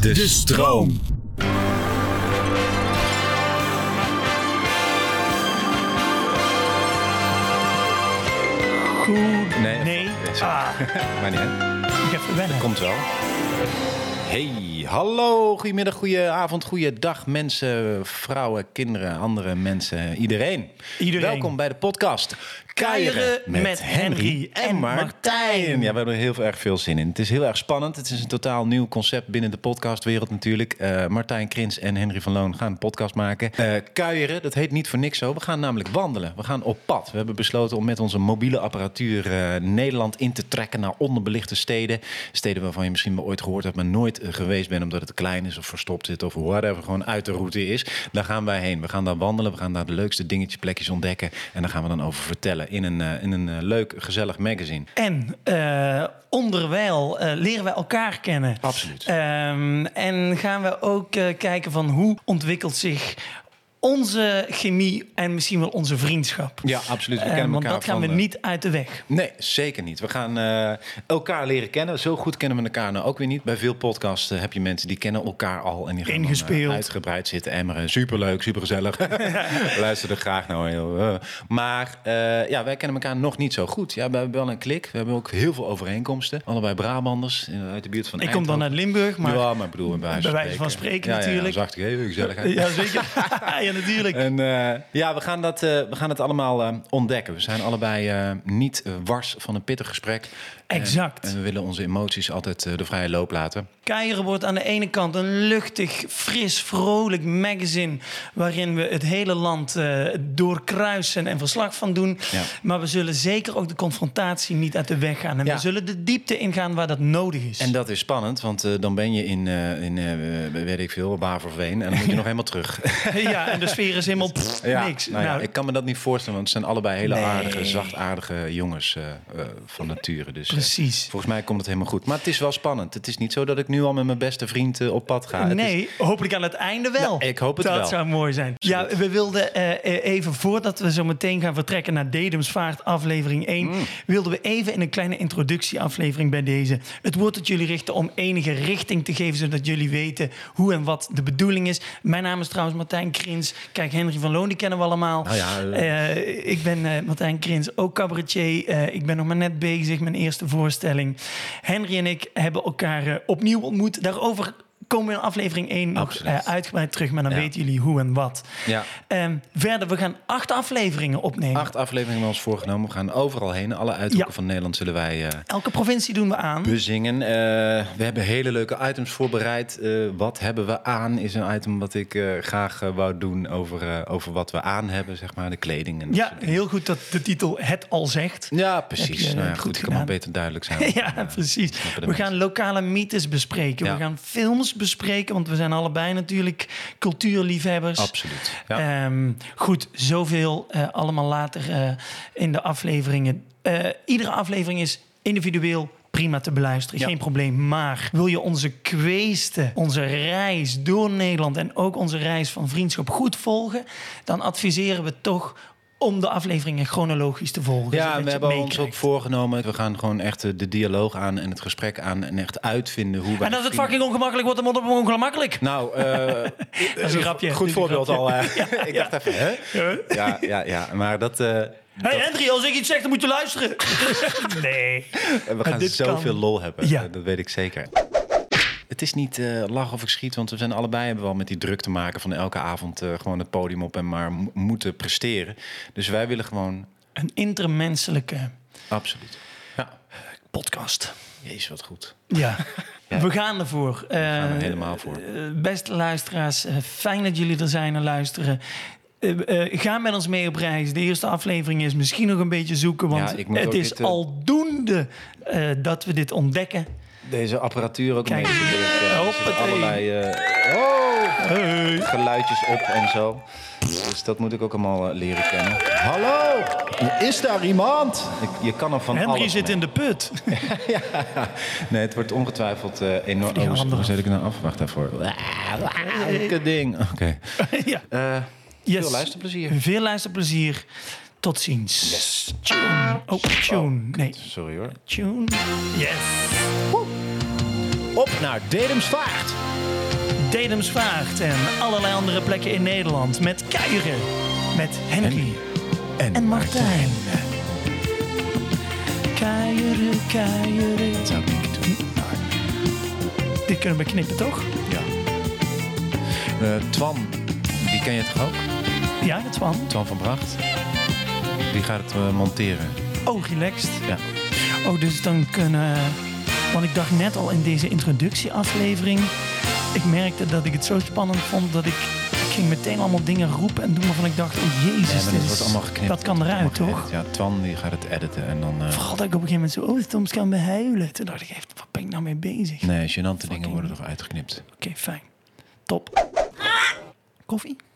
De, stroom. Goed. Nee, Nee. sorry. Ah, maar niet. hè? ik even wennen. Komt wel. Hey, hallo, goedemiddag, goedenavond, goeiedag mensen, vrouwen, kinderen, andere mensen, iedereen. Iedereen. Welkom bij de podcast Keieren met Henry en Martijn. Ja, we hebben er heel erg veel zin in. Het is heel erg spannend. Het is een totaal nieuw concept binnen de podcastwereld natuurlijk. Eh, Martijn Krins en Henry van Loon gaan een podcast maken. Eh, kuieren, dat heet niet voor niks zo. We gaan namelijk wandelen. We gaan op pad. We hebben besloten om met onze mobiele apparatuur eh, Nederland in te trekken naar onderbelichte steden. Steden waarvan je misschien wel ooit gehoord hebt, maar nooit eh, geweest bent omdat het te klein is of verstopt zit of whatever. Gewoon uit de route is. Daar gaan wij heen. We gaan daar wandelen. We gaan daar de leukste dingetjes, plekjes ontdekken. En daar gaan we dan over vertellen in een, eh, in een eh, leuk, gezellig magazine. En eh, onderwijl eh, leren we elkaar kennen. Absoluut. Ehm, en gaan we ook eh, kijken van hoe ontwikkelt zich onze chemie en misschien wel onze vriendschap. Ja, absoluut. We Eh, kennen want elkaar dat gaan van, we eh, niet uit de weg. Nee, zeker niet. We gaan eh, elkaar leren kennen. Zo goed kennen we elkaar nou ook weer niet. Bij veel podcasts eh, heb je mensen die kennen elkaar al. En die gaan dan, eh, Ingespeeld. uitgebreid zitten emmeren. Superleuk, supergezellig. Luister er graag naar. joh. Eh, Maar eh, ja, wij kennen elkaar nog niet zo goed. Ja, we hebben wel een klik. We hebben ook heel veel overeenkomsten. Allebei Brabanders eh, uit de buurt van Ik kom dan uit Eindhoven. Limburg, maar... ja, maar ik bedoel, bij wijze van Bij spreken, wijze van spreken Ja, ja, ja, natuurlijk. zacht, heel gezelligheid. Ja, zeker. ja, natuurlijk. En eh, ja, we gaan, dat, eh, we gaan het allemaal eh, ontdekken. We zijn allebei eh, niet eh, wars van een pittig gesprek. Exact. En we willen onze emoties altijd eh, de vrije loop laten. Keieren wordt aan de ene kant een luchtig, fris, vrolijk magazine... waarin we het hele land eh, doorkruisen en verslag van doen. Ja. Maar we zullen zeker ook de confrontatie niet uit de weg gaan. En Ja. we zullen de diepte ingaan waar dat nodig is. En dat is spannend, want eh, dan ben je in, eh, in eh, weet ik veel, Waverveen. En dan moet je nog helemaal terug. ja, en de sfeer is helemaal pff, niks. Nou, ja, Nou, ik kan me dat niet voorstellen, want het zijn allebei hele Nee. aardige, zachtaardige jongens eh, eh, van nature. Dus eh, Precies. volgens mij komt het helemaal goed. Maar het is wel spannend. Het is niet zo dat ik nu al met mijn beste vriend eh, op pad ga. Het is- nee, hopelijk aan het einde wel. Nou, ik hoop het dat wel. zou mooi zijn. Ja, we wilden eh, eh, even voordat we zo meteen gaan vertrekken naar Dedemsvaart, aflevering 1, Mm. wilden we even in een kleine introductieaflevering bij deze het woord tot jullie richten om enige richting te geven, zodat jullie weten hoe en wat de bedoeling is. Mijn naam is trouwens Martijn Krins. Kijk, Henry van Loon, die kennen we allemaal. Nou ja, eh, Eh, ik ben eh, Martijn Krins, ook cabaretier. Eh, ik ben nog maar net bezig, mijn eerste voorstelling. Henry en ik hebben elkaar eh, opnieuw ontmoet. Daarover komen we in aflevering 1 nog Absoluut. eh, uitgebreid terug. Maar dan Ja. weten jullie hoe en wat. Ja. Ehm, verder, we gaan acht afleveringen opnemen. Acht afleveringen hebben we ons voorgenomen. We gaan overal heen. Alle uithoeken Ja. van Nederland zullen wij eh, Elke provincie doen we aan. bezingen. Eh, we hebben hele leuke items voorbereid. Eh, wat hebben we aan is een item wat ik eh, graag eh, wou doen over, eh, over wat we aan hebben. Zeg maar de kleding. En dat Ja, soort dingen. heel goed dat de titel het al zegt. ja, precies. Heb je, nou ja, eh, goed, goed ik kan maar gedaan. beter duidelijk zijn. Ja, precies. snappen de We gaan lokale mythes bespreken. Ja. We gaan films bespreken, want we zijn allebei natuurlijk cultuurliefhebbers. Absoluut. Ja. Ehm, goed, zoveel eh, allemaal later eh, in de afleveringen. Eh, iedere aflevering is individueel prima te beluisteren, Ja. geen probleem. Maar wil je onze kweesten, onze reis door Nederland en ook onze reis van vriendschap goed volgen, dan adviseren we toch om de afleveringen chronologisch te volgen. zodat dus Ja, je en we het hebben ons ook meekrijgt. voorgenomen. We gaan gewoon echt eh, de dialoog aan en het gesprek aan. En echt uitvinden hoe wij... En als het vrienden- fucking ongemakkelijk wordt, dan wordt het ongemakkelijk. Nou, eh, Dat is een grapje. goed Dat is een voorbeeld al. grapje. eh. ik dacht even, hè? Ja, ja, ja. Maar dat... eh, Hé hey, Henry, als ik iets zeg, dan moet je luisteren. nee. We En gaan dit zoveel kan- lol hebben. eh, Ja. Dat weet ik zeker. Het is niet eh lachen of ik schiet, want we zijn allebei hebben wel met die druk te maken van elke avond eh, gewoon het podium op en maar mo- moeten presteren. Dus wij willen gewoon Een intermenselijke absoluut. Ja. podcast. Jezus, wat goed. Ja. We gaan ervoor. We gaan er helemaal voor. beste luisteraars, eh, fijn dat jullie er zijn en luisteren. Eh, eh, ga met ons mee op reis. De eerste aflevering is misschien nog een beetje zoeken, want Ja, ik moet het ook is dit, eh, aldoende eh, dat we dit ontdekken. Deze apparatuur ook Kijk. mee. Ja, er zitten Hoppatee. allerlei eh, oh, geluidjes op en zo. Dus dat moet ik ook allemaal eh, leren kennen. Hallo, is daar iemand? Ik- je kan er van Henry alles zit mee. in de put. Nee, het wordt ongetwijfeld eh, enorm. Die Oh, hoe- handen. hoe zet ik het nou af? Wacht daarvoor. Lekker ding. Oké. ja. Eh, Yes. Veel luisterplezier. Veel luisterplezier. Tot ziens. Tune. Oh, tune. Nee, Sorry hoor. tune. Yes. Op naar Dedemsvaart. Dedemsvaart en allerlei andere plekken in Nederland. Met Kuieren, met Henry En, en Martijn. Kuieren, kuieren. Dat zou ik niet doen. Maar, Dit kunnen we knippen, toch? ja. Eh, Twan, die ken je toch ook? Ja, dat van. Twan van Bracht. Die gaat het eh, monteren. Oh, relaxed. Ja. Oh, dus dan kunnen. Want ik dacht net al in deze introductieaflevering. Ik merkte dat ik het zo spannend vond dat ik. ik ging meteen allemaal dingen roepen en doen waarvan ik dacht: oh jezus, Ja, maar dit dat is- wordt allemaal geknipt. dat kan eruit, wordt allemaal toch? geëdit. Ja, Twan die gaat het editen en dan... eh, Vooral dat ik op een gegeven moment zo, oh, Toms kan behuilen. Toen dacht ik even, wat ben ik nou mee bezig? nee, gênante dingen worden toch uitgeknipt. Oké, fijn. Top. Koffie?